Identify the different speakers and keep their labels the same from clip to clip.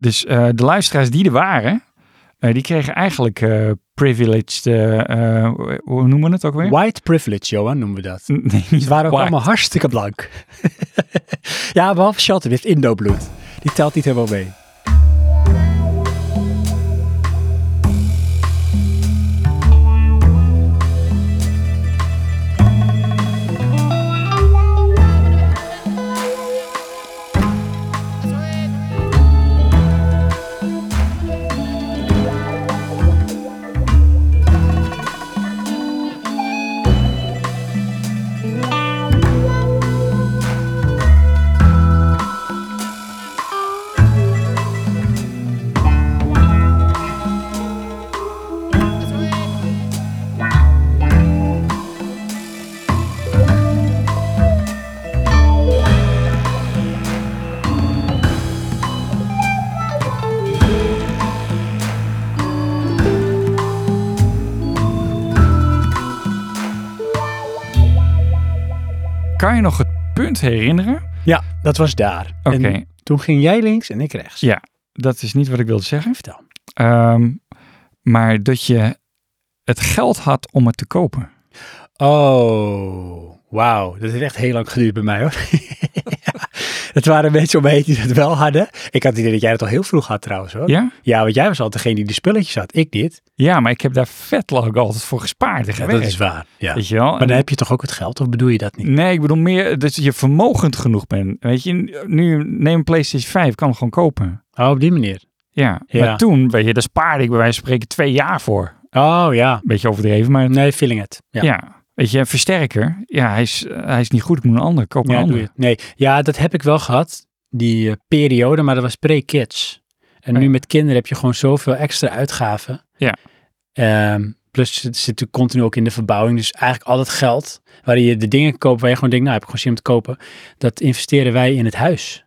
Speaker 1: Dus eh, de luisteraars die er waren, eh, die kregen eigenlijk eh, privileged, eh, eh, hoe noemen we het ook weer?
Speaker 2: White privilege, Johan, noemen we dat.
Speaker 1: Nee, Mm.
Speaker 2: Die waren ook
Speaker 1: white.
Speaker 2: allemaal hartstikke blank. ja, behalve Shelton, die heeft Indo-bloed. Die telt niet helemaal mee.
Speaker 1: Kan je nog het punt herinneren?
Speaker 2: Ja, dat was daar.
Speaker 1: Oké,
Speaker 2: En toen ging jij links en ik rechts.
Speaker 1: ja, dat is niet wat ik wilde zeggen.
Speaker 2: Vertel.
Speaker 1: Ehm, maar dat je het geld had om het te kopen.
Speaker 2: Oh, wauw. Dat heeft echt heel lang geduurd bij mij hoor. Ja. Het waren mensen om me heen die dat wel hadden. Ik had het idee dat jij dat al heel vroeg had trouwens hoor.
Speaker 1: Ja?
Speaker 2: Ja, want jij was altijd degene die de spulletjes had. Ik niet.
Speaker 1: Ja, maar ik heb daar vet lang altijd voor gespaard en
Speaker 2: Ja,
Speaker 1: gewerkt.
Speaker 2: dat is waar. Ja.
Speaker 1: Weet je wel?
Speaker 2: Maar dan heb je toch ook het geld, of bedoel je dat niet?
Speaker 1: Nee, ik bedoel meer dat je vermogend genoeg bent. Weet je, nu neem een PlayStation 5, kan hem gewoon kopen.
Speaker 2: Oh, op die manier.
Speaker 1: Ja,
Speaker 2: Ja.
Speaker 1: maar toen, weet je, daar spaarde ik bij wijze van spreken twee jaar voor.
Speaker 2: Oh ja.
Speaker 1: Beetje overdreven, maar
Speaker 2: Nee, feeling het. Ja.
Speaker 1: ja. Weet je, een versterker, ja, hij is, hij is niet goed, ik moet een ander, koop een
Speaker 2: Ja, doe
Speaker 1: ander.
Speaker 2: je het. Nee, ja, dat heb ik wel gehad, die eh, periode, maar dat was pre-kids. En
Speaker 1: Oh
Speaker 2: nu
Speaker 1: ja.
Speaker 2: met kinderen heb je gewoon zoveel extra uitgaven.
Speaker 1: Ja.
Speaker 2: Ehm, plus het zit natuurlijk continu ook in de verbouwing. Dus eigenlijk al dat geld waar je de dingen koopt waar je gewoon denkt, nou heb ik gewoon zin om te kopen. Dat investeren wij in het huis.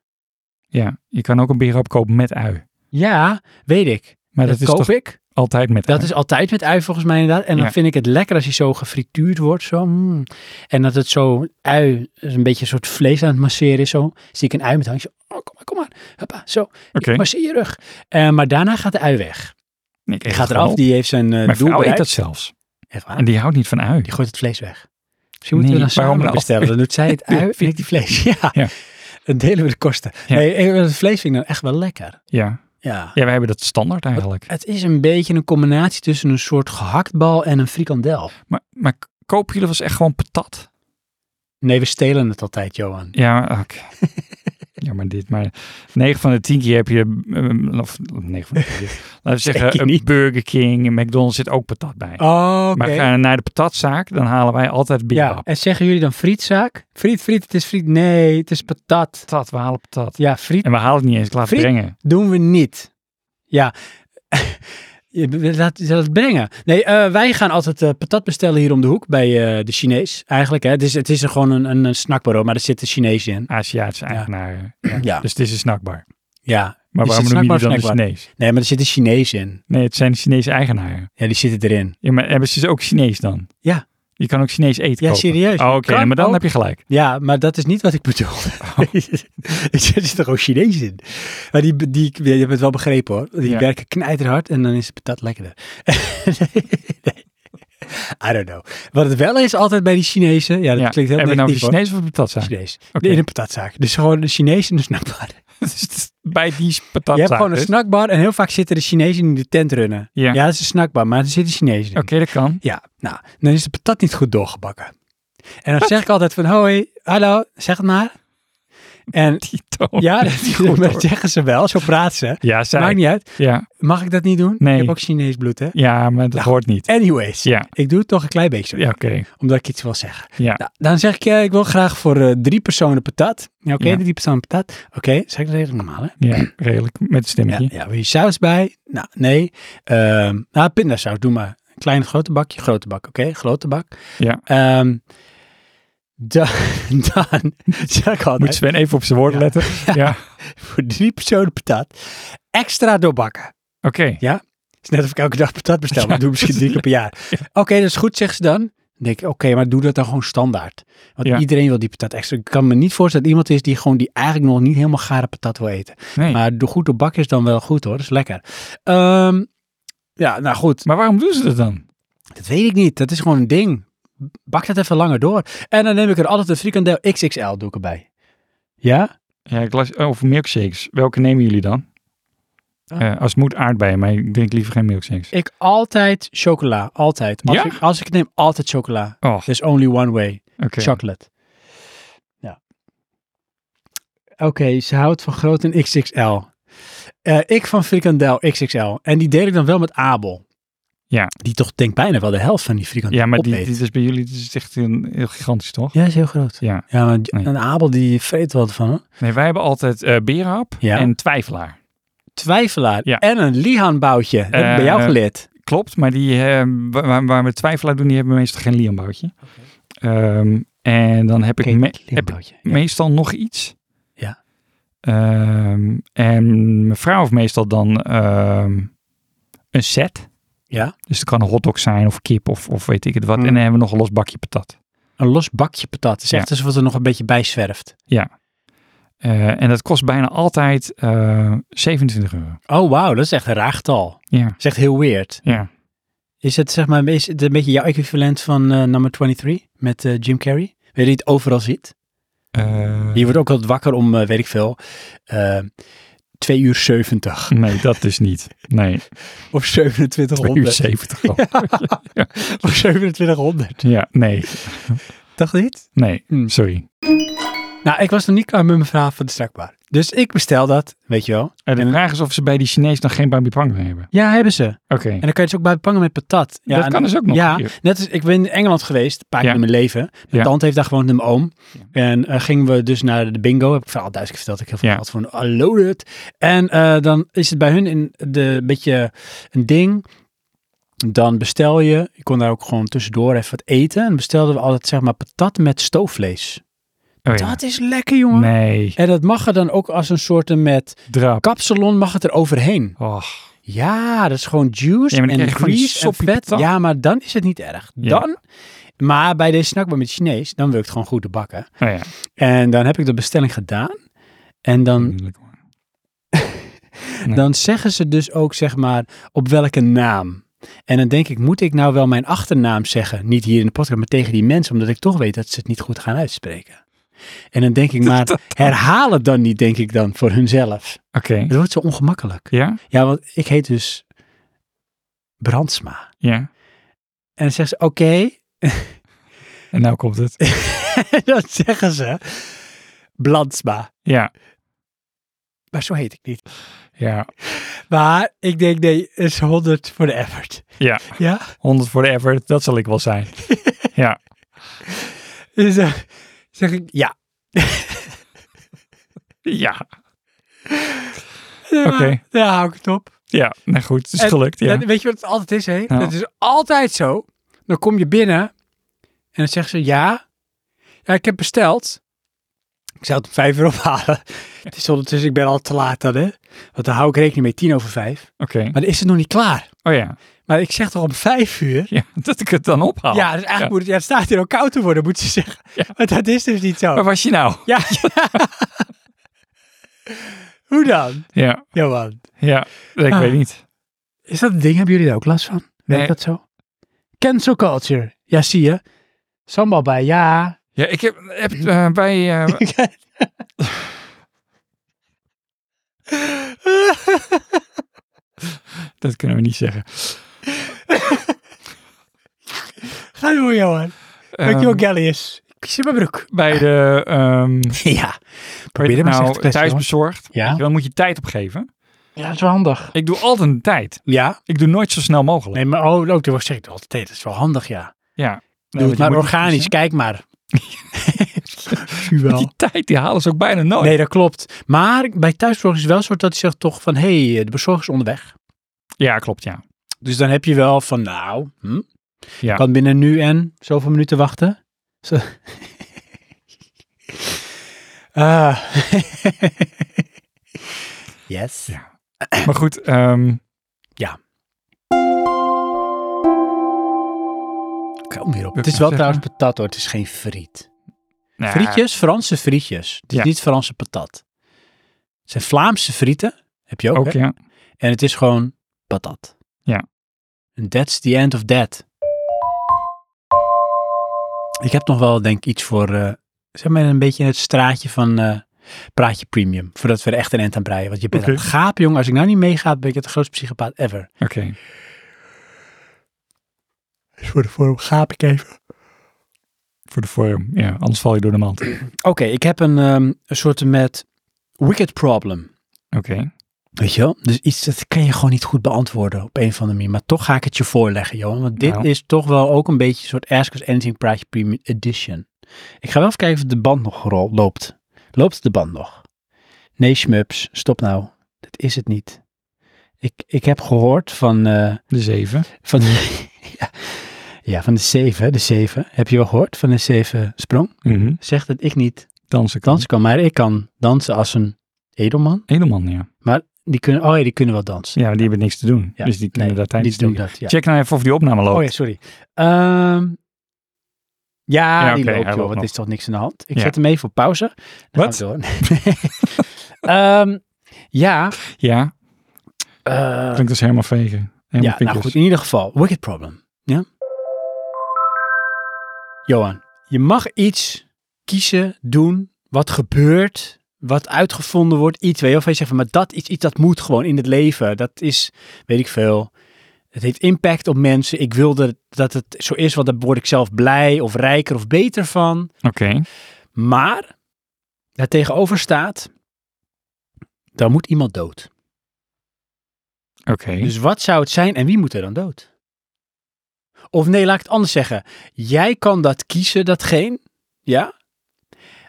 Speaker 1: Ja, je kan ook een bierhap kopen met ui.
Speaker 2: Ja, weet ik.
Speaker 1: Maar dat,
Speaker 2: dat,
Speaker 1: is
Speaker 2: koop
Speaker 1: toch
Speaker 2: ik.
Speaker 1: altijd met
Speaker 2: Dat
Speaker 1: ui?
Speaker 2: is altijd met ui volgens mij inderdaad. En dan
Speaker 1: Ja.
Speaker 2: vind ik het lekker als hij zo gefrituurd wordt. Zo. mm. En dat het zo ui, dus een beetje een soort vlees aan het masseren is. Zo zie ik een ui met hangje. Oh, kom maar, kom maar. Hoppa, zo.
Speaker 1: Oké.
Speaker 2: Ik masseer je rug. Eh, maar daarna gaat de ui weg.
Speaker 1: Nee, ik eet
Speaker 2: Die
Speaker 1: het
Speaker 2: gaat eraf.
Speaker 1: gewoon op.
Speaker 2: Die heeft zijn eh
Speaker 1: Mijn
Speaker 2: doel
Speaker 1: vrouw eet
Speaker 2: bereikt.
Speaker 1: dat zelfs.
Speaker 2: Echt waar?
Speaker 1: En die houdt niet van ui.
Speaker 2: Die gooit het vlees weg. Misschien moeten
Speaker 1: Nee,
Speaker 2: we dan
Speaker 1: waarom
Speaker 2: samen
Speaker 1: dan?
Speaker 2: bestellen. Dan doet zij het ui en
Speaker 1: Vind-
Speaker 2: ik die vlees. Ja.
Speaker 1: Ja.
Speaker 2: Dan delen we de kosten.
Speaker 1: Ja.
Speaker 2: Nee, eh, het vlees vind ik nou echt wel lekker.
Speaker 1: Ja.
Speaker 2: Ja.
Speaker 1: ja, wij hebben dat standaard eigenlijk.
Speaker 2: Het is een beetje een combinatie tussen een soort gehaktbal en een frikandel.
Speaker 1: Maar, maar kopen jullie was echt gewoon patat?
Speaker 2: Nee, we stelen het altijd, Johan.
Speaker 1: Ja, maar- oké. ja, maar dit, maar 9 van de 10 keer heb je, ehm, of 9 van de 10 keer, laten we
Speaker 2: Zeker
Speaker 1: zeggen, een
Speaker 2: niet.
Speaker 1: Burger King, een McDonald's zit ook patat bij.
Speaker 2: Oh,
Speaker 1: Maar gaan we naar de patatzaak, dan halen wij altijd
Speaker 2: ja,
Speaker 1: bierhap.
Speaker 2: en zeggen jullie dan frietzaak? Friet, friet, het is friet. Nee, het is patat.
Speaker 1: Patat, we halen patat.
Speaker 2: Ja, friet
Speaker 1: En we halen het niet eens, ik laat het
Speaker 2: Friet?
Speaker 1: brengen.
Speaker 2: doen we niet. Ja, je b- laat, je laat het brengen. Nee, eh, wij gaan altijd eh, patat bestellen hier om de hoek bij eh, de Chinees. Eigenlijk, hè. Het, is, het is er gewoon een, een, een snackbureau, maar er zitten Chinees in.
Speaker 1: Aziatische eigenaren.
Speaker 2: Ja.
Speaker 1: Dus het is een snackbar.
Speaker 2: Ja,
Speaker 1: Maar
Speaker 2: Is
Speaker 1: waarom
Speaker 2: het
Speaker 1: noem je die
Speaker 2: snackbar
Speaker 1: dan
Speaker 2: of
Speaker 1: een
Speaker 2: snackbar?
Speaker 1: Chinees?
Speaker 2: nee, maar er zitten Chinees in.
Speaker 1: Nee, het zijn Chinese eigenaren.
Speaker 2: Ja, die zitten erin.
Speaker 1: Ja, maar hebben ze dus ook Chinees dan?
Speaker 2: Ja.
Speaker 1: Je kan ook Chinees eten
Speaker 2: Ja,
Speaker 1: kopen?
Speaker 2: serieus.
Speaker 1: Oh, Oké,
Speaker 2: Kan
Speaker 1: nee, maar dan
Speaker 2: ook.
Speaker 1: heb je gelijk.
Speaker 2: Ja, maar dat is niet wat ik bedoel.
Speaker 1: Oh.
Speaker 2: er zitten gewoon Chinees in. Maar die, die, je hebt het wel begrepen hoor. Die
Speaker 1: Ja.
Speaker 2: werken knijterhard en dan is het patat lekkerder. Nee. I don't know. Wat het wel is altijd bij die Chinezen. Ja, dat
Speaker 1: Ja.
Speaker 2: klinkt heel
Speaker 1: Hebben we nou
Speaker 2: negatief
Speaker 1: over Chinees of over patatzaak?
Speaker 2: hoor. Chinees.
Speaker 1: Oké.
Speaker 2: In een patatzaak. Dus gewoon de Chinees en de snackbar.
Speaker 1: Dus Bij die
Speaker 2: Je
Speaker 1: patatzaak.
Speaker 2: hebt gewoon een
Speaker 1: dus?
Speaker 2: snackbar en heel vaak zitten de Chinezen in de tent runnen.
Speaker 1: Ja.
Speaker 2: ja dat is een snackbar, maar er zitten Chinezen in.
Speaker 1: Oké, dat kan.
Speaker 2: Ja, nou, dan is de patat niet goed doorgebakken. En dan zeg ik altijd van, hoi, hallo, zeg het maar. En
Speaker 1: Tito.
Speaker 2: ja, dat,
Speaker 1: goed,
Speaker 2: dat
Speaker 1: hoor.
Speaker 2: zeggen ze wel, zo praten ze.
Speaker 1: Ja, zij.
Speaker 2: Maakt niet uit.
Speaker 1: Ja.
Speaker 2: Mag ik dat niet doen?
Speaker 1: Nee.
Speaker 2: Ik heb ook Chinees bloed, hè?
Speaker 1: ja, maar dat
Speaker 2: Nou.
Speaker 1: hoort niet.
Speaker 2: Anyways,
Speaker 1: Ja,
Speaker 2: ik doe het toch een klein beetje,
Speaker 1: ja oké.
Speaker 2: omdat ik iets wil zeggen.
Speaker 1: Ja.
Speaker 2: Nou, dan zeg ik, eh, ik wil graag voor eh, drie personen patat. Ja, oké,
Speaker 1: Ja.
Speaker 2: drie personen patat. Oké, zeg ik dat redelijk normaal, hè?
Speaker 1: ja, redelijk. Met een
Speaker 2: Ja,
Speaker 1: stemmetje.
Speaker 2: ja, wil je saus bij? Nou, nee. Ehm nou, pindasaus, doe maar. Klein, grote bakje, grote bak, oké? Grote bak.
Speaker 1: Ja.
Speaker 2: Ehm, dan, dan zeg ik
Speaker 1: Moet
Speaker 2: altijd,
Speaker 1: Sven even op zijn woorden
Speaker 2: Ja.
Speaker 1: letten. Ja,
Speaker 2: voor drie personen patat, extra doorbakken.
Speaker 1: oké.
Speaker 2: Het is net of ik elke dag patat bestel, maar
Speaker 1: Ja,
Speaker 2: dat doe ik misschien drie keer per jaar. Oké, dat is goed, zegt ze dan. denk ik, oké, maar doe dat dan gewoon standaard. Want
Speaker 1: Ja.
Speaker 2: iedereen wil die patat extra. Ik kan me niet voorstellen dat iemand is die gewoon die eigenlijk nog niet helemaal gare patat wil eten.
Speaker 1: Nee. Maar,
Speaker 2: Maar de goed op bak is dan wel goed hoor, dat is lekker. Ehm, ja, nou goed,
Speaker 1: waarom doen ze dat dan?
Speaker 2: dat weet ik niet. Dat is gewoon een ding. Bak dat even langer door. En dan neem ik er altijd een frikandel XXL doe ik erbij. Ja?
Speaker 1: Ja, ik las, oh, of milkshakes. Welke nemen jullie dan?
Speaker 2: Ah.
Speaker 1: Eh, als het moet aardbeien, maar ik drink liever geen milkshakes.
Speaker 2: Ik altijd chocola, altijd. Als,
Speaker 1: Ja?
Speaker 2: ik, als ik het neem, altijd chocola.
Speaker 1: Oh, oké.
Speaker 2: There's only one way. Chocolate. Ja. Oké, ze houdt van groot en XXL. Eh, ik van frikandel XXL. En die deel ik dan wel met Abel.
Speaker 1: Ja.
Speaker 2: Die toch denk bijna wel de helft van die frikandel
Speaker 1: Ja, maar die,
Speaker 2: opeet.
Speaker 1: dit is bij jullie dit is echt een, heel gigantisch, toch?
Speaker 2: Ja, is heel groot.
Speaker 1: eh, Ja.
Speaker 2: Ja, maar
Speaker 1: Nee.
Speaker 2: een Abel die vreet wat van. hè?
Speaker 1: Nee, wij hebben altijd eh berenhap
Speaker 2: Ja.
Speaker 1: en twijfelaar.
Speaker 2: Twijfelaar
Speaker 1: Ja.
Speaker 2: en een lihanboutje. Dat heb ik bij jou
Speaker 1: Eh,
Speaker 2: geleerd.
Speaker 1: Klopt, maar die, eh, wa- waar, waar we twijfelaar doen, die hebben meestal geen liamboutje. Ehm, en dan heb ik,
Speaker 2: Oké,
Speaker 1: me- heb ik
Speaker 2: lihanboutje. Ja.
Speaker 1: meestal nog iets.
Speaker 2: Ja.
Speaker 1: Ehm, en mijn vrouw heeft meestal dan ehm, een set.
Speaker 2: Ja.
Speaker 1: Dus het kan een hotdog zijn of kip of, of weet ik het wat.
Speaker 2: Mm.
Speaker 1: En dan hebben we nog een los bakje patat.
Speaker 2: Een los bakje patat. Het is
Speaker 1: Ja.
Speaker 2: echt alsof het er nog een beetje bij zwerft.
Speaker 1: Eh, en dat kost bijna altijd eh 27 euro.
Speaker 2: Oh, wauw. Dat is echt een raar getal.
Speaker 1: Ja,
Speaker 2: Dat is echt heel weird.
Speaker 1: ja.
Speaker 2: Is het zeg maar is het een beetje jouw equivalent van eh nummer 23 met eh, Jim Carrey? Weet je die het overal ziet?
Speaker 1: Eh,
Speaker 2: Je wordt ook altijd wakker om, eh, weet ik veel, eh 2 uur 70
Speaker 1: nee, dat is niet. Nee,
Speaker 2: of
Speaker 1: 2 uur
Speaker 2: 2700.
Speaker 1: 70 euro.
Speaker 2: Of 2700.
Speaker 1: Ja, nee,
Speaker 2: Dacht niet?
Speaker 1: nee,
Speaker 2: Hmm.
Speaker 1: sorry.
Speaker 2: Nou, ik was nog niet klaar met mijn vraag van de strakbaar. Dus ik bestel dat, weet je wel.
Speaker 1: Eh, de vraag is of ze bij die Chinees dan geen Bambi Pang meer hebben.
Speaker 2: Ja, hebben ze.
Speaker 1: Oké,
Speaker 2: En dan kan je dus ook bij pangen met patat. Ja,
Speaker 1: dat
Speaker 2: en-
Speaker 1: kan dus ook nog.
Speaker 2: Ja,
Speaker 1: Hier.
Speaker 2: net als ik ben in Engeland geweest, een paar keer
Speaker 1: Ja.
Speaker 2: in mijn leven. Mijn
Speaker 1: Ja.
Speaker 2: tante heeft daar gewoond met mijn oom.
Speaker 1: Ja.
Speaker 2: En eh, gingen we dus naar de bingo. Heb ik verhaal duizend keer verteld. Ik heb heel
Speaker 1: Ja.
Speaker 2: veel gehad van loaded. En eh, dan is het bij hun in de beetje een ding. Dan bestel je, ik kon daar ook gewoon tussendoor even wat eten. En bestelden we altijd zeg maar patat met stoofvlees.
Speaker 1: Oh, ja.
Speaker 2: Dat is lekker jongen.
Speaker 1: Nee,
Speaker 2: En dat mag er dan ook als een soort met
Speaker 1: drap.
Speaker 2: kapsalon mag het er overheen.
Speaker 1: Och.
Speaker 2: Ja, dat is gewoon
Speaker 1: Ja,
Speaker 2: juice
Speaker 1: maar dan
Speaker 2: en
Speaker 1: krijg je gewoon die
Speaker 2: grease en
Speaker 1: soppie
Speaker 2: vet.
Speaker 1: patat.
Speaker 2: Ja, maar dan is het niet erg.
Speaker 1: Ja.
Speaker 2: Dan, maar bij deze snackbar met Chinees, dan wil ik het gewoon goed te bakken.
Speaker 1: Oh ja.
Speaker 2: En dan heb ik de bestelling gedaan. En dan,
Speaker 1: Moeilijk, hoor. Mm, Nee.
Speaker 2: dan zeggen ze dus ook, zeg maar, op welke naam. En dan denk ik, moet ik nou wel mijn achternaam zeggen? Niet hier in de podcast, maar tegen die mensen, omdat ik toch weet dat ze het niet goed gaan uitspreken. En dan denk ik, maar herhaal het dan niet, denk ik dan, voor hunzelf.
Speaker 1: Oké.
Speaker 2: Het wordt zo ongemakkelijk.
Speaker 1: Ja?
Speaker 2: Ja, want ik heet dus Brandsma.
Speaker 1: Ja.
Speaker 2: En dan zeggen ze, oké.
Speaker 1: En nou komt het.
Speaker 2: En dan zeggen ze, Blansma.
Speaker 1: Ja.
Speaker 2: Maar zo heet ik niet.
Speaker 1: Ja.
Speaker 2: Maar ik denk, nee, het is 100 voor de effort.
Speaker 1: Ja.
Speaker 2: Ja?
Speaker 1: 100 voor de effort, dat zal ik wel zijn. ja.
Speaker 2: Dus eh, zeg ik, ja.
Speaker 1: Ja.
Speaker 2: Oké.
Speaker 1: Oké.
Speaker 2: Eh, Daar hou ik het op.
Speaker 1: Ja. Nou goed, het is
Speaker 2: En-
Speaker 1: gelukt. Ja.
Speaker 2: En weet je wat het altijd is, hè?
Speaker 1: Nou.
Speaker 2: Dat is altijd zo. Dan kom je binnen en dan zeggen ze, ja. Ja, ik heb besteld. Ik zou het om vijf uur ophalen. Het is ondertussen, ik ben al te laat dan, hè. Want daar hou ik rekening mee, tien over vijf.
Speaker 1: Oké.
Speaker 2: Maar dan is het nog niet klaar.
Speaker 1: Oh ja.
Speaker 2: Maar ik zeg toch om vijf uur?
Speaker 1: ja. Dat ik het dan ophaal.
Speaker 2: Ja, dus eigenlijk moet het, ja, het staat hier ook koud te worden, moet ze zeggen.
Speaker 1: Oh, Ja.
Speaker 2: Maar dat is dus niet zo.
Speaker 1: Waar was je nou?
Speaker 2: Ja. Hoe dan,
Speaker 1: Ja.
Speaker 2: Johan?
Speaker 1: Ja. Ik
Speaker 2: Ah.
Speaker 1: weet niet.
Speaker 2: Is dat een ding? Hebben jullie daar ook last van? Weet
Speaker 1: Nee.
Speaker 2: dat zo? Cancel culture. Ja, zie je. Sambal bij, ja.
Speaker 1: Ja, ik heb, heb eh, bij... eh, dat kunnen we niet zeggen.
Speaker 2: Ga door, Johan. Dankjewel,
Speaker 1: Ehm,
Speaker 2: Gallius. Ik zit mijn broek.
Speaker 1: bij de... ehm
Speaker 2: Ja.
Speaker 1: weet
Speaker 2: Probeer
Speaker 1: ik
Speaker 2: hem eens
Speaker 1: nou,
Speaker 2: echt te best, Johan.
Speaker 1: thuisbezorgd.
Speaker 2: Ja.
Speaker 1: Dan moet je tijd opgeven.
Speaker 2: Ja, dat is wel handig.
Speaker 1: Ik doe altijd een tijd.
Speaker 2: Ja.
Speaker 1: Ik doe nooit zo snel mogelijk.
Speaker 2: Nee, maar oh, ook, dat zeg ik altijd. Dat is wel handig, ja.
Speaker 1: Ja.
Speaker 2: Doe
Speaker 1: Nee,
Speaker 2: het
Speaker 1: want je
Speaker 2: maar
Speaker 1: moet-
Speaker 2: organisch. Kijk maar. Zie wel.
Speaker 1: Die tijd die halen ze ook bijna nooit.
Speaker 2: Nee, dat klopt. Maar bij thuiszorg is het wel zo dat hij zegt toch van... hé, hey, eh, de bezorger is onderweg.
Speaker 1: Ja, klopt, ja.
Speaker 2: Dus dan heb je wel van nou... Hm,
Speaker 1: Ja.
Speaker 2: Kan binnen nu en zoveel minuten wachten. Zo. Ah. yes.
Speaker 1: Ja. Maar goed, ehm,
Speaker 2: Oké, kom meer
Speaker 1: Wil
Speaker 2: op. Het is
Speaker 1: ik
Speaker 2: wel
Speaker 1: zeggen?
Speaker 2: trouwens patat hoor, het is geen friet.
Speaker 1: Nou,
Speaker 2: Frietjes, Franse frietjes. Het is
Speaker 1: Ja.
Speaker 2: niet Franse patat. Het zijn Vlaamse frieten, heb je ook,
Speaker 1: Ook
Speaker 2: hè?
Speaker 1: ja.
Speaker 2: En het is gewoon patat.
Speaker 1: Ja.
Speaker 2: And that's the end of that. Ik heb nog wel, denk ik, iets voor, eh, zeg maar, een beetje het straatje van eh, Praatje Premium. Voordat we er echt een eind aan breien. Want je bent
Speaker 1: Oké.
Speaker 2: aan het gapen, jongen. Als ik nou niet meega, ben ik het grootste psychopaat ever.
Speaker 1: Oké.
Speaker 2: Dus voor de vorm gaap ik even.
Speaker 1: Voor de vorm. Ja, anders val je door de mand. Oké.
Speaker 2: Oké, ik heb een, ehm, een soort met wicked problem. Weet je wel? Dus iets dat kan je gewoon niet goed beantwoorden op een van de manier. Maar toch ga ik het je voorleggen, Johan. Want dit
Speaker 1: Nou.
Speaker 2: is toch wel ook een beetje een soort Ask Us Anything Praatje Premium Edition. Ik ga wel even kijken of de band nog ro- loopt. Loopt de band nog? Nee, Schmups, stop nou. Dat is het niet. Ik, ik heb gehoord van, eh,
Speaker 1: De zeven.
Speaker 2: van, de, ja, ja, van de zeven, de zeven. Heb je wel gehoord van de zeven sprong?
Speaker 1: Mhm.
Speaker 2: Zegt dat ik niet
Speaker 1: Dansen kan.
Speaker 2: dansen kan, maar ik kan dansen als een edelman.
Speaker 1: Edelman, ja.
Speaker 2: Maar die kunnen, oh ja, die kunnen wel dansen.
Speaker 1: Ja, die hebben niks te doen.
Speaker 2: Ja,
Speaker 1: Dus die kunnen
Speaker 2: nee,
Speaker 1: daar tijdens
Speaker 2: die doen dat, ja.
Speaker 1: Check nou even of die opname loopt.
Speaker 2: Oh ja, sorry. Ehm, ja,
Speaker 1: Ja,
Speaker 2: die
Speaker 1: oké,
Speaker 2: loopt
Speaker 1: hij
Speaker 2: joh,
Speaker 1: loopt
Speaker 2: want
Speaker 1: nog.
Speaker 2: er is toch niks aan de hand. Ik
Speaker 1: Ja.
Speaker 2: zet hem even op pauze. Dan
Speaker 1: Wat?
Speaker 2: gaan we door. Ehm, ja,
Speaker 1: Ja,
Speaker 2: eh,
Speaker 1: klinkt als helemaal vegen.
Speaker 2: ja
Speaker 1: Helemaal
Speaker 2: nou goed, in ieder geval. Wicked problem. Ja? Johan, je mag iets kiezen, doen, wat gebeurt, wat uitgevonden wordt, iets. Weet je, of je zegt van, maar dat iets, iets dat moet gewoon in het leven. Dat is, weet ik veel, Het heeft impact op mensen. Ik wilde dat het zo is, want daar word ik zelf blij of rijker of beter van.
Speaker 1: Oké.
Speaker 2: Maar daar tegenover staat, daar moet iemand dood.
Speaker 1: Oké.
Speaker 2: Dus wat zou het zijn en wie moet er dan dood? Of nee, laat ik het anders zeggen. Jij kan dat kiezen, datgene. Ja?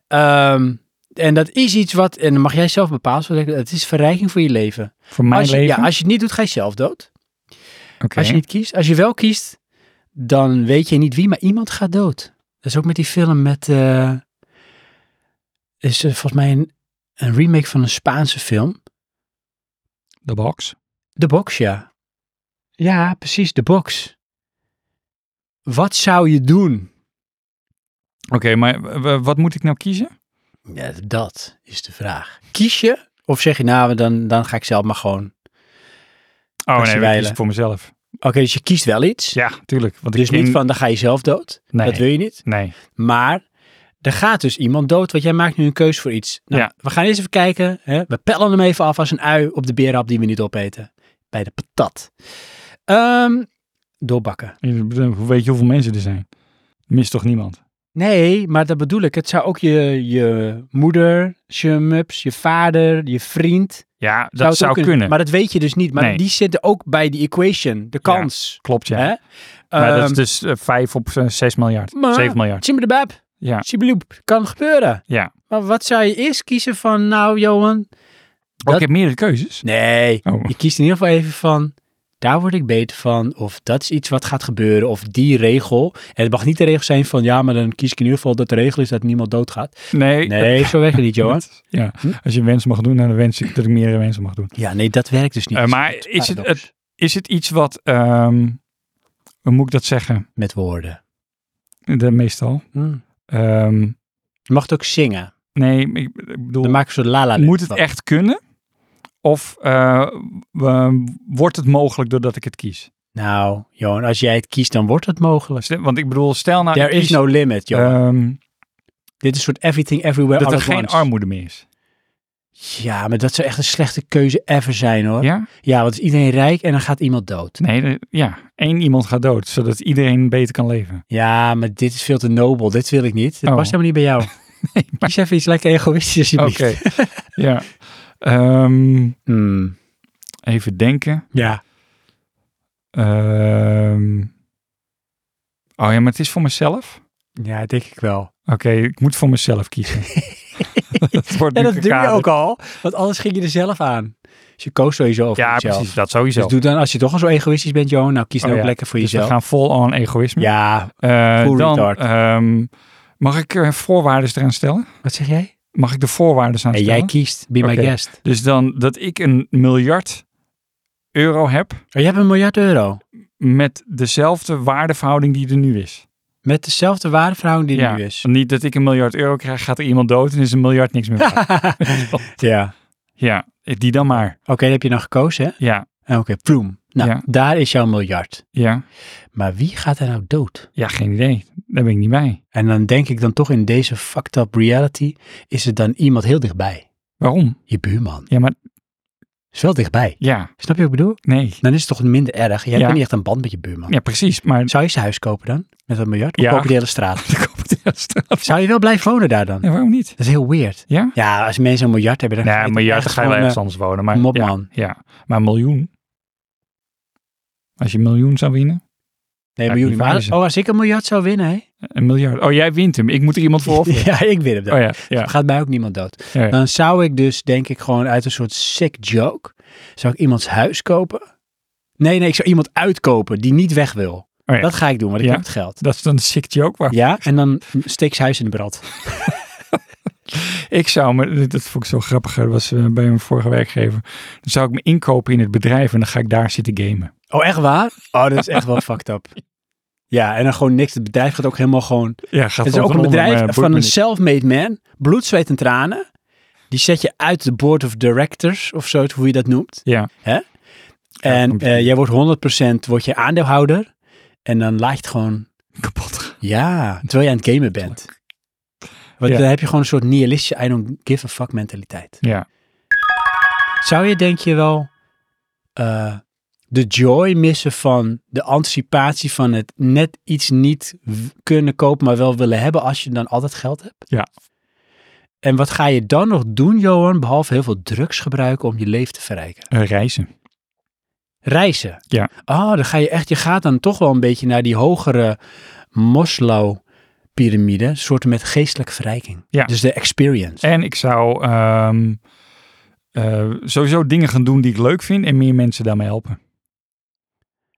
Speaker 2: Ehm, en dat is iets wat, en dan mag jij zelf bepalen. Het is verrijking voor je leven.
Speaker 1: Voor mijn
Speaker 2: als je,
Speaker 1: leven.
Speaker 2: Ja, als je het niet doet, ga je zelf dood.
Speaker 1: Oké.
Speaker 2: Als je niet kiest. Als je wel kiest, dan weet je niet wie, maar iemand gaat dood. Dat is ook met die film met... eh, is eh, volgens mij een, een remake van een Spaanse film.
Speaker 1: De box.
Speaker 2: De Box, ja. Ja, precies, De Box. Wat zou je doen?
Speaker 1: Oké, maar w- w- wat moet ik nou kiezen?
Speaker 2: Ja, dat is de vraag. Kies je? Of zeg je, nou, dan, dan ga ik zelf maar gewoon...
Speaker 1: Oh
Speaker 2: Actie
Speaker 1: nee, ik kies
Speaker 2: wijlen.
Speaker 1: het voor mezelf.
Speaker 2: Oké, dus je kiest wel iets.
Speaker 1: Ja, tuurlijk. Want
Speaker 2: Dus
Speaker 1: ik
Speaker 2: niet van, dan ga je zelf dood.
Speaker 1: Nee.
Speaker 2: Dat wil je niet.
Speaker 1: Nee.
Speaker 2: Maar er gaat dus iemand dood, want jij maakt nu een keus voor iets. Nou,
Speaker 1: Ja.
Speaker 2: We gaan eerst even kijken. Hè? We pellen hem even af als een ui op de berenhap die we niet opeten. Bij de patat. Ehm, doorbakken.
Speaker 1: Ik bedoel, Hoe weet je hoeveel mensen er zijn? Mist toch niemand?
Speaker 2: Nee, maar dat bedoel ik. Het zou ook je, je moeder, je mups, je vader, je vriend.
Speaker 1: Ja, dat
Speaker 2: het
Speaker 1: zou,
Speaker 2: ook kunnen.
Speaker 1: kunnen.
Speaker 2: Maar dat weet je dus niet. Maar
Speaker 1: Nee.
Speaker 2: die zitten ook bij die equation. De kans.
Speaker 1: Klopt, ja.
Speaker 2: Hè?
Speaker 1: Maar dat
Speaker 2: Ehm,
Speaker 1: is dus eh, 5 op eh, 6 miljard.
Speaker 2: maar-
Speaker 1: 7 miljard.
Speaker 2: Tjimbidabab.
Speaker 1: Ja.
Speaker 2: Tjibbeloep. Kan gebeuren.
Speaker 1: Ja.
Speaker 2: Maar wat zou je eerst kiezen van, nou Johan?
Speaker 1: Oh,
Speaker 2: Dat-
Speaker 1: ik heb meerdere keuzes.
Speaker 2: Nee,
Speaker 1: Oh,
Speaker 2: je kiest in ieder geval even van, daar word ik beter van. Of dat is iets wat gaat gebeuren. Of die regel. En het mag niet de regel zijn van, ja, maar dan kies ik in ieder geval dat de regel is dat niemand doodgaat.
Speaker 1: nee.
Speaker 2: Nee, zo werkt het niet, Johan.
Speaker 1: Dat- ja. Als je een wens mag doen, dan wens ik dat ik meerdere wensen mag doen.
Speaker 2: Ja, nee, dat werkt dus niet.
Speaker 1: Eh, maar
Speaker 2: Dat
Speaker 1: is het-
Speaker 2: paradox.
Speaker 1: Is het iets wat, ehm, hoe moet ik dat zeggen?
Speaker 2: Met woorden.
Speaker 1: De, meestal. Ehm,
Speaker 2: Je mag het ook zingen.
Speaker 1: nee, ik, ik bedoel,
Speaker 2: Dan maak ik zo'n la-la.
Speaker 1: moet het echt kunnen? Of eh, w- ehm, wordt het mogelijk doordat ik het kies?
Speaker 2: Nou, Johan, als jij het kiest, dan wordt het mogelijk.
Speaker 1: Stel- Want ik bedoel, stel nou,
Speaker 2: There
Speaker 1: ik
Speaker 2: is
Speaker 1: kies,
Speaker 2: no limit, Johan.
Speaker 1: ehm,
Speaker 2: Dit is een soort everything, everywhere,
Speaker 1: dat
Speaker 2: all
Speaker 1: er
Speaker 2: at
Speaker 1: geen
Speaker 2: once.
Speaker 1: armoede meer is.
Speaker 2: Ja, maar dat zou echt een slechte keuze ever zijn, hoor. Ja,
Speaker 1: Ja?
Speaker 2: want is iedereen rijk en dan gaat iemand dood.
Speaker 1: Nee, de- ja. Eén iemand gaat dood, zodat iedereen beter kan leven.
Speaker 2: Ja, maar dit is veel te nobel. Dit wil ik niet. Dit
Speaker 1: Oh.
Speaker 2: past helemaal niet bij jou. Kies even iets lekker egoïstisch,
Speaker 1: Oké.
Speaker 2: alsjeblieft.
Speaker 1: ja. Ehm,
Speaker 2: Hmm,
Speaker 1: even denken.
Speaker 2: Ja.
Speaker 1: Ehm, oh ja, maar het is voor mezelf.
Speaker 2: ja, denk ik wel.
Speaker 1: Oké, ik moet voor mezelf kiezen. dat wordt
Speaker 2: En
Speaker 1: nu
Speaker 2: dat doe je
Speaker 1: gekaderd.
Speaker 2: ook al, want anders ging je er zelf aan. Dus je koos sowieso over
Speaker 1: Ja,
Speaker 2: jezelf.
Speaker 1: precies. Dat sowieso.
Speaker 2: Dus doe dan, als je toch al zo egoïstisch bent, Johan, nou kies dan
Speaker 1: Oh
Speaker 2: ook
Speaker 1: ja,
Speaker 2: lekker voor
Speaker 1: Dus we
Speaker 2: jezelf.
Speaker 1: gaan vol on egoïsme.
Speaker 2: Ja,
Speaker 1: Eh,
Speaker 2: full
Speaker 1: dan,
Speaker 2: retard.
Speaker 1: ehm, mag ik eh, voorwaarden eraan stellen?
Speaker 2: wat zeg jij?
Speaker 1: Mag ik de voorwaarden aan
Speaker 2: En
Speaker 1: stellen?
Speaker 2: jij kiest, be my
Speaker 1: Oké.
Speaker 2: guest.
Speaker 1: Dus dan dat ik een miljard euro heb
Speaker 2: Oh, je hebt een miljard euro.
Speaker 1: met dezelfde waardeverhouding die er nu is.
Speaker 2: Met dezelfde waardeverhouding die er
Speaker 1: ja,
Speaker 2: nu is.
Speaker 1: Niet dat ik een miljard euro krijg, gaat er iemand dood en is een miljard niks meer waard.
Speaker 2: ja.
Speaker 1: ja, die dan maar.
Speaker 2: Oké, die heb je dan gekozen, hè?
Speaker 1: Ja,
Speaker 2: En Oké, ploem. Nou,
Speaker 1: Ja.
Speaker 2: daar is jouw miljard.
Speaker 1: ja.
Speaker 2: Maar wie gaat er nou dood?
Speaker 1: Ja, geen idee. Daar ben ik niet bij.
Speaker 2: En dan denk ik dan toch in deze fucked up reality, is er dan iemand heel dichtbij.
Speaker 1: Waarom?
Speaker 2: Je buurman.
Speaker 1: Ja, maar
Speaker 2: Is wel dichtbij.
Speaker 1: ja,
Speaker 2: Snap je wat ik bedoel?
Speaker 1: nee.
Speaker 2: Dan is het toch minder erg. Jij
Speaker 1: Ja.
Speaker 2: hebt niet echt een band met je buurman.
Speaker 1: Ja, precies. Maar
Speaker 2: Zou je zijn huis kopen dan? Met dat miljard? Of
Speaker 1: Ja.
Speaker 2: koop je de hele straat?
Speaker 1: de Kopenhagenstraat.
Speaker 2: Zou je wel blijven wonen daar dan?
Speaker 1: Ja, waarom niet?
Speaker 2: Dat is heel weird.
Speaker 1: Ja?
Speaker 2: Ja, als mensen een miljard hebben, dan
Speaker 1: Nee, een miljard dan ga je wel
Speaker 2: eh,
Speaker 1: ergens anders wonen. Maar, ja,
Speaker 2: Mopman.
Speaker 1: ja, maar een miljoen. Als je een miljoen zou winnen.
Speaker 2: Nee,
Speaker 1: Ja,
Speaker 2: maar jullie
Speaker 1: die
Speaker 2: waren-
Speaker 1: wijzen.
Speaker 2: Oh, als ik een miljard zou winnen, hè?
Speaker 1: Een miljard. Oh, jij wint hem. Ik moet er iemand voor offeren.
Speaker 2: Ja, ik win hem dan.
Speaker 1: Oh ja, ja.
Speaker 2: Gaat mij ook niemand dood.
Speaker 1: Ja, ja.
Speaker 2: Dan zou ik dus, denk ik, gewoon uit een soort sick joke, zou ik iemands huis kopen? Nee, nee, ik zou iemand uitkopen die niet weg wil.
Speaker 1: Oh ja.
Speaker 2: Dat ga ik doen, want ik
Speaker 1: Ja.
Speaker 2: heb het geld.
Speaker 1: Dat is dan een sick joke. Waar...
Speaker 2: Ja, en dan steek ze huis in de brand.
Speaker 1: Ik zou me, dat- dat vond ik zo grappig, dat was eh, bij mijn vorige werkgever. Dan zou ik me inkopen in het bedrijf en dan ga ik daar zitten gamen.
Speaker 2: Oh, echt waar? Oh, dat is echt wel fucked up. Ja, en dan gewoon niks. Het bedrijf gaat ook helemaal gewoon...
Speaker 1: Ja, gaat eh,
Speaker 2: Het is ook
Speaker 1: over
Speaker 2: een
Speaker 1: onder, maar
Speaker 2: bedrijf
Speaker 1: boeit
Speaker 2: van
Speaker 1: me
Speaker 2: een
Speaker 1: niet.
Speaker 2: self-made man. Bloed, zweet en tranen. Die zet je uit de board of directors of zo, hoe je dat noemt.
Speaker 1: Ja,
Speaker 2: En
Speaker 1: komt ie.
Speaker 2: eh, jij wordt 100% wordt je aandeelhouder. En dan laat je het gewoon...
Speaker 1: kapot.
Speaker 2: Ja, terwijl je aan het gamen bent. Want
Speaker 1: Ja.
Speaker 2: dan heb je gewoon een soort nihilistische I don't give a fuck mentaliteit.
Speaker 1: Ja.
Speaker 2: Zou je denk je wel eh, de joy missen van de anticipatie van het net iets niet w- kunnen kopen, maar wel willen hebben als je dan altijd geld hebt?
Speaker 1: Ja.
Speaker 2: En wat ga je dan nog doen, Johan, behalve heel veel drugs gebruiken om je leven te verrijken?
Speaker 1: Eh, reizen.
Speaker 2: Reizen.
Speaker 1: Ja.
Speaker 2: Oh, dan ga je echt, je gaat dan toch wel een beetje naar die hogere Moslow-pyramide, soorten met geestelijke verrijking.
Speaker 1: Ja.
Speaker 2: Dus de experience.
Speaker 1: En ik zou ehm, eh, sowieso dingen gaan doen die ik leuk vind en meer mensen daarmee helpen.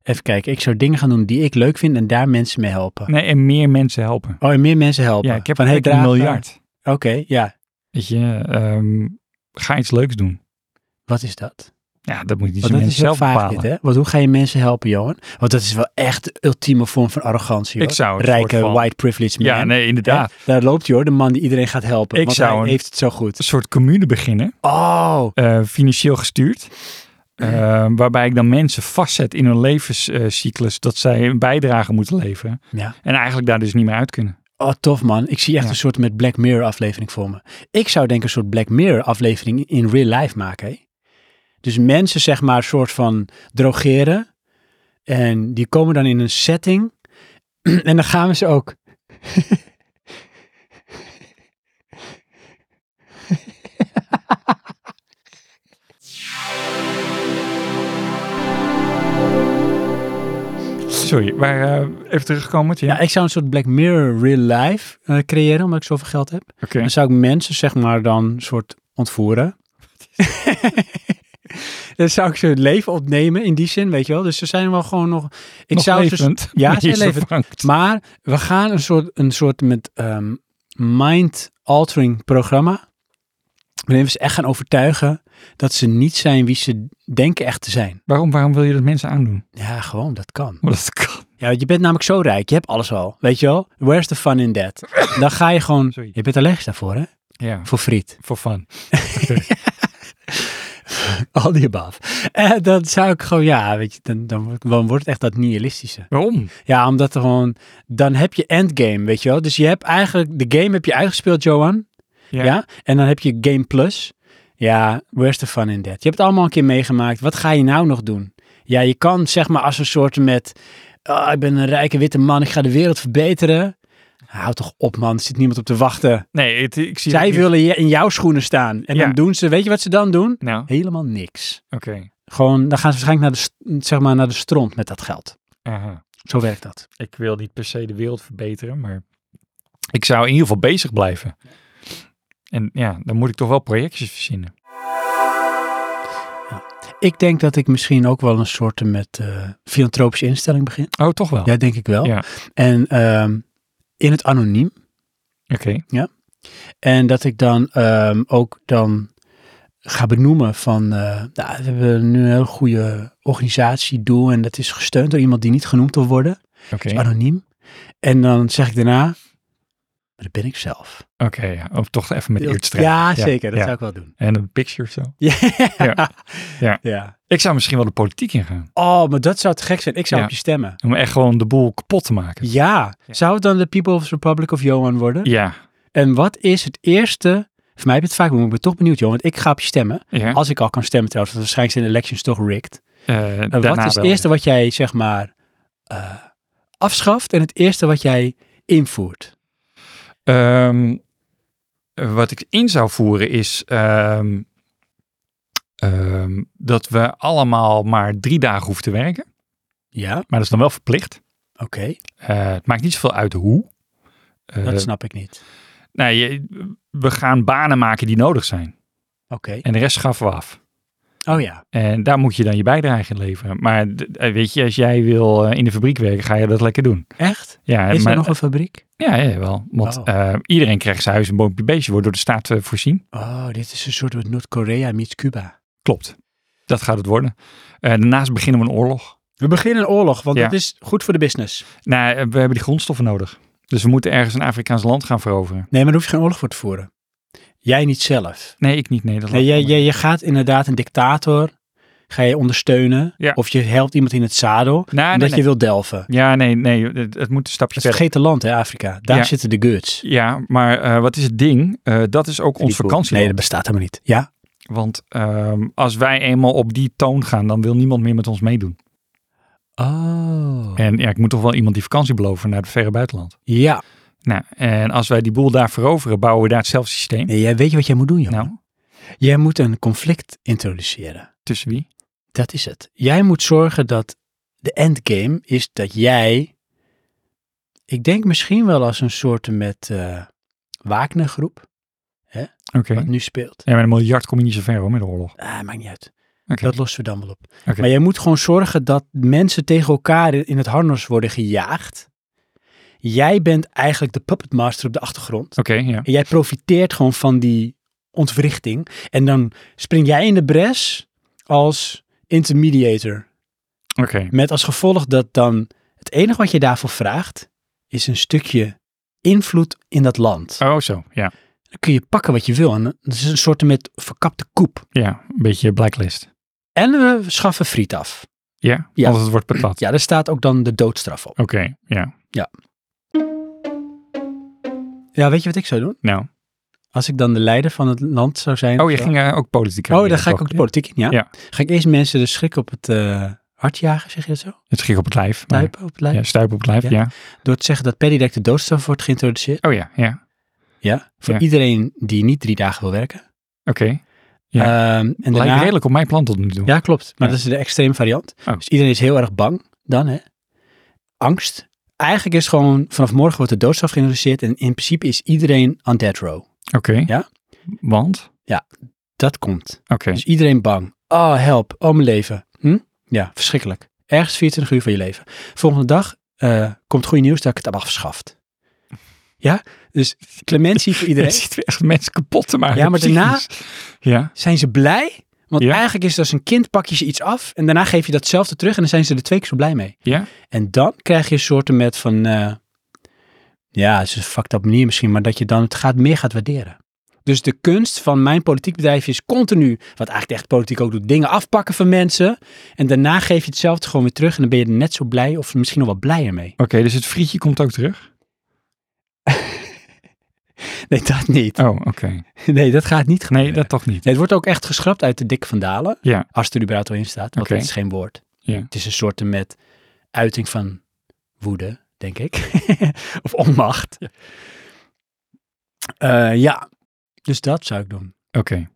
Speaker 2: Even kijken, ik zou dingen gaan doen die ik leuk vind en daar mensen mee helpen.
Speaker 1: Nee, en meer mensen helpen.
Speaker 2: Oh, en meer mensen helpen.
Speaker 1: Ja, ik heb
Speaker 2: Van, hey,
Speaker 1: eigenlijk een
Speaker 2: draag, eh,
Speaker 1: miljard.
Speaker 2: Oké, ja.
Speaker 1: Weet je, ehm, ga iets leuks doen.
Speaker 2: Wat is dat?
Speaker 1: Ja, dat moet je niet zo
Speaker 2: Want
Speaker 1: mensen
Speaker 2: dat is heel
Speaker 1: zelf
Speaker 2: vaag
Speaker 1: bepalen.
Speaker 2: dit, hè? Want hoe ga je mensen helpen, Johan? Want dat is wel echt de ultieme vorm van arrogantie, hoor.
Speaker 1: Ik zou het
Speaker 2: Rijke,
Speaker 1: soort van-
Speaker 2: white privileged man.
Speaker 1: ja, nee, inderdaad.
Speaker 2: Hè? Daar loopt hij, hoor. De man die iedereen gaat helpen.
Speaker 1: Ik
Speaker 2: want
Speaker 1: zou
Speaker 2: hij
Speaker 1: een-
Speaker 2: heeft het zo goed.
Speaker 1: Een soort commune beginnen,
Speaker 2: Oh,
Speaker 1: eh, financieel gestuurd. eh, waarbij ik dan mensen vastzet in hun levenscyclus dat zij een bijdrage moeten leveren.
Speaker 2: ja.
Speaker 1: En eigenlijk daar dus niet meer uit kunnen.
Speaker 2: Oh, tof man. Ik zie echt
Speaker 1: Ja.
Speaker 2: een soort met Black Mirror aflevering voor me. Ik zou denk ik een soort Black Mirror aflevering in real life maken. Hè? Dus mensen zeg maar een soort van drogeren. En die komen dan in een setting. En dan gaan we ze ook...
Speaker 1: Sorry, maar eh, even terugkomen. Ja,
Speaker 2: Ja, ik zou een soort Black Mirror real life eh, creëren, omdat ik zoveel geld heb.
Speaker 1: oké.
Speaker 2: Dan zou ik mensen, zeg maar, dan een soort ontvoeren. dan zou ik ze het leven opnemen in die zin, weet je wel. Dus ze zijn wel gewoon nog... Ik
Speaker 1: Nog
Speaker 2: zou ze
Speaker 1: dus- levend.
Speaker 2: ja,
Speaker 1: maar
Speaker 2: ze
Speaker 1: je
Speaker 2: zijn levend.
Speaker 1: vervangt.
Speaker 2: Maar we gaan een soort, een soort met ehm, mind-altering programma. Waarin we ze echt gaan overtuigen dat ze niet zijn wie ze denken echt te zijn.
Speaker 1: Waarom, waarom wil je dat mensen aandoen?
Speaker 2: Ja, gewoon, dat kan.
Speaker 1: Want dat kan.
Speaker 2: Ja, want je bent namelijk zo rijk. Je hebt alles al. Weet je wel? Where's the fun in that? Dan ga je gewoon...
Speaker 1: Sorry.
Speaker 2: Je bent allergisch daarvoor, hè?
Speaker 1: Ja,
Speaker 2: Voor friet.
Speaker 1: voor fun.
Speaker 2: Al die above. En dan zou ik gewoon... Ja, weet je, dan, dan, dan wordt het echt dat nihilistische.
Speaker 1: Waarom?
Speaker 2: Ja, omdat er gewoon, dan heb je endgame, weet je wel. Dus je hebt eigenlijk, de game heb je uitgespeeld, Johan.
Speaker 1: Ja.
Speaker 2: Ja. En dan heb je Game Plus. Ja, where's the fun in that? Je hebt het allemaal een keer meegemaakt. Wat ga je nou nog doen? Ja, je kan zeg maar als een soort met, ah, ik ben een rijke witte man, ik ga de wereld verbeteren. Hou toch op man, er zit niemand op te wachten.
Speaker 1: Nee, het- ik zie
Speaker 2: Zij
Speaker 1: het niet.
Speaker 2: willen je- in jouw schoenen staan. En
Speaker 1: Ja.
Speaker 2: dan doen ze, weet je wat ze dan doen?
Speaker 1: Nou, oké.
Speaker 2: Helemaal niks. Gewoon, dan gaan ze waarschijnlijk naar de, st- zeg maar, naar de stront met dat geld.
Speaker 1: Aha.
Speaker 2: Zo werkt dat.
Speaker 1: Ik wil niet per se de wereld verbeteren, maar ik zou in ieder geval bezig blijven. En ja, dan moet ik toch wel projectjes verzinnen.
Speaker 2: Ik denk dat ik misschien ook wel een soort met eh, filantropische instelling begin.
Speaker 1: Oh, toch wel?
Speaker 2: Ja, denk ik wel.
Speaker 1: Ja.
Speaker 2: En ehm, in het anoniem.
Speaker 1: Oké.
Speaker 2: En dat ik dan ehm, ook dan ga benoemen van, eh, nou, we hebben nu een heel goede organisatie, doel en dat is gesteund door iemand die niet genoemd wil worden.
Speaker 1: Oké.
Speaker 2: Dus anoniem. En dan zeg ik daarna, maar dat ben ik zelf.
Speaker 1: Oké, ja. of toch even met
Speaker 2: ja,
Speaker 1: eertstreep.
Speaker 2: zeker. Dat
Speaker 1: ja.
Speaker 2: zou ik wel doen.
Speaker 1: En een picture of zo.
Speaker 2: Ja.
Speaker 1: Ja.
Speaker 2: ja.
Speaker 1: Ik zou misschien wel de politiek ingaan.
Speaker 2: Oh, maar dat zou te gek zijn. Ik zou
Speaker 1: Ja.
Speaker 2: op je stemmen.
Speaker 1: Om echt gewoon de boel kapot te maken.
Speaker 2: Ja. Zou het dan de People's Republic of Johan worden?
Speaker 1: Ja.
Speaker 2: En wat is het eerste... Voor mij heb je het vaak, maar ik ben toch benieuwd, Johan. Want ik ga op je stemmen.
Speaker 1: ja.
Speaker 2: Als ik al kan stemmen trouwens, want waarschijnlijk zijn de elections toch rigged.
Speaker 1: Eh,
Speaker 2: En wat
Speaker 1: daarna
Speaker 2: is het
Speaker 1: wel.
Speaker 2: eerste wat jij, zeg maar, eh, afschaft en het eerste wat jij invoert?
Speaker 1: Ehm, wat ik in zou voeren is ehm, ehm, dat we allemaal maar drie dagen hoeven te werken.
Speaker 2: Ja,
Speaker 1: Maar dat is dan wel verplicht.
Speaker 2: oké.
Speaker 1: Eh, het maakt niet zoveel uit hoe. Eh,
Speaker 2: dat snap ik niet.
Speaker 1: nou, je, we gaan banen maken die nodig zijn.
Speaker 2: Oké.
Speaker 1: En de rest schaffen we af.
Speaker 2: Oh ja.
Speaker 1: En daar moet je dan je bijdrage in leveren. Maar d- eh, weet je, als jij wil eh, in de fabriek werken, ga je dat lekker doen.
Speaker 2: Echt?
Speaker 1: Ja,
Speaker 2: Is
Speaker 1: maar-
Speaker 2: er nog een fabriek?
Speaker 1: ja, ja, wel. Want
Speaker 2: Oh.
Speaker 1: eh, iedereen krijgt zijn huis en boompje beestje, wordt door de staat eh, voorzien.
Speaker 2: Oh, dit is een soort wat Noord-Korea meets Cuba.
Speaker 1: Klopt. Dat gaat het worden. Eh, daarnaast beginnen we een oorlog.
Speaker 2: We beginnen een oorlog, want
Speaker 1: Ja.
Speaker 2: dat is goed voor de business.
Speaker 1: Nou, eh, we hebben die grondstoffen nodig. Dus we moeten ergens een Afrikaans land gaan veroveren.
Speaker 2: Nee, maar daar hoef je geen oorlog voor te voeren. Jij niet zelf.
Speaker 1: Nee, ik niet Nederland.
Speaker 2: Nee, jij, jij, je gaat inderdaad een dictator, ga je ondersteunen.
Speaker 1: Ja.
Speaker 2: Of je helpt iemand in het zadel,
Speaker 1: Nou,
Speaker 2: omdat
Speaker 1: nee,
Speaker 2: je
Speaker 1: nee.
Speaker 2: wil delven.
Speaker 1: Ja, nee, nee. Het, het moet een stapje
Speaker 2: Het is
Speaker 1: verder.
Speaker 2: vergeten land, hè, Afrika. Daar
Speaker 1: Ja.
Speaker 2: zitten de goods.
Speaker 1: Ja, maar eh, wat is het ding? Eh, dat is ook ons
Speaker 2: Die boel.
Speaker 1: vakantieland.
Speaker 2: Nee, dat bestaat helemaal niet. Ja?
Speaker 1: Want ehm, als wij eenmaal op die toon gaan, dan wil niemand meer met ons meedoen.
Speaker 2: Oh.
Speaker 1: En ja, ik moet toch wel iemand die vakantie beloven naar het verre buitenland.
Speaker 2: Ja.
Speaker 1: Nou, en als wij die boel daar veroveren, bouwen we daar hetzelfde systeem.
Speaker 2: Nee, jij weet je wat jij moet doen, joh.
Speaker 1: Nou,
Speaker 2: Jij moet een conflict introduceren.
Speaker 1: tussen wie?
Speaker 2: Dat is het. Jij moet zorgen dat de endgame is dat jij, ik denk misschien wel als een soort met eh Wagner-groep,
Speaker 1: Oké.
Speaker 2: wat nu speelt.
Speaker 1: Ja, met een miljard kom je niet zo ver hoor, met de oorlog.
Speaker 2: Ah, maakt niet uit.
Speaker 1: Oké.
Speaker 2: Dat lossen we dan wel op.
Speaker 1: Oké.
Speaker 2: Maar jij moet gewoon zorgen dat mensen tegen elkaar in in het harnas worden gejaagd. Jij bent eigenlijk de puppetmaster op de achtergrond.
Speaker 1: Oké, ja.
Speaker 2: En jij profiteert gewoon van die ontwrichting. En dan spring jij in de bres als intermediator.
Speaker 1: Oké.
Speaker 2: Met als gevolg dat dan het enige wat je daarvoor vraagt, is een stukje invloed in dat land.
Speaker 1: Oh, zo. Ja.
Speaker 2: Dan kun je pakken wat je wil. En dat is een soort met verkapte koep.
Speaker 1: Ja, een beetje blacklist.
Speaker 2: En we schaffen friet af.
Speaker 1: Ja?
Speaker 2: Ja.
Speaker 1: Want het wordt patat.
Speaker 2: Ja, daar staat ook dan de doodstraf op.
Speaker 1: Oké, ja.
Speaker 2: Ja, weet je wat ik zou doen?
Speaker 1: Nou.
Speaker 2: Als ik dan de leider van het land zou zijn.
Speaker 1: Oh,
Speaker 2: of
Speaker 1: je
Speaker 2: zo.
Speaker 1: ging eh, ook politiek
Speaker 2: Oh, dan ga ik ook de politiek in, ja.
Speaker 1: Ja.
Speaker 2: Ga ik eerst mensen de schrik op het eh, hart jagen, zeg je dat zo?
Speaker 1: Het ging op het lijf. maar-
Speaker 2: Stuipen op het lijf.
Speaker 1: Ja, stuip op het lijf, ja.
Speaker 2: Ja. Door te zeggen dat per direct de doodstraf wordt geïntroduceerd.
Speaker 1: Oh ja, ja.
Speaker 2: Ja. Voor
Speaker 1: Ja.
Speaker 2: iedereen die niet drie dagen wil werken.
Speaker 1: Oké. Ja.
Speaker 2: Ehm, en
Speaker 1: Lijkt
Speaker 2: daarna,
Speaker 1: redelijk op mijn plan tot nu toe.
Speaker 2: Ja, klopt. Maar
Speaker 1: Ja.
Speaker 2: dat is de extreme variant.
Speaker 1: Oh.
Speaker 2: Dus iedereen is heel erg bang dan, hè. Angst. Eigenlijk is gewoon, vanaf morgen wordt de doodstraf geïntroduceerd. En in principe is iedereen on death row.
Speaker 1: Oké.
Speaker 2: Ja.
Speaker 1: Want?
Speaker 2: Dat komt.
Speaker 1: Oké.
Speaker 2: Dus iedereen bang. Oh, help. Oh, mijn leven. Hm? Ja, verschrikkelijk. Ergens 24 uur van je leven. Volgende dag eh, komt goed nieuws dat ik het heb afgeschaft. Ja, dus clementie voor
Speaker 1: Je
Speaker 2: iedereen.
Speaker 1: ziet echt mensen kapot te maken.
Speaker 2: Ja, maar daarna-
Speaker 1: Psychisch. Ja.
Speaker 2: Zijn ze blij? Want
Speaker 1: Ja.
Speaker 2: eigenlijk is het als een kind pak je ze iets af en daarna geef je datzelfde terug en dan zijn ze er twee keer zo blij mee.
Speaker 1: Ja.
Speaker 2: En dan krijg je een soort met van, eh, ja, het is een fucked up manier misschien, maar dat je dan het gaat, meer gaat waarderen. Dus de kunst van mijn politiek bedrijf is continu, wat eigenlijk de echte politiek ook doet, dingen afpakken van mensen. En daarna geef je hetzelfde gewoon weer terug en dan ben je er net zo blij of misschien nog wat blijer mee.
Speaker 1: Oké, dus het frietje komt ook terug?
Speaker 2: Nee, dat niet.
Speaker 1: Oh, oké.
Speaker 2: Nee, dat gaat niet
Speaker 1: Nee,
Speaker 2: gebeuren.
Speaker 1: dat toch niet.
Speaker 2: Nee, het wordt ook echt geschrapt uit de dikke vandalen.
Speaker 1: Ja.
Speaker 2: Als er überhaupt wel in staat, want
Speaker 1: Oké.
Speaker 2: dat is geen woord.
Speaker 1: Ja.
Speaker 2: Het is een soort met uiting van woede, denk ik. of onmacht. Ja. ja, dus dat zou ik doen.
Speaker 1: Oké.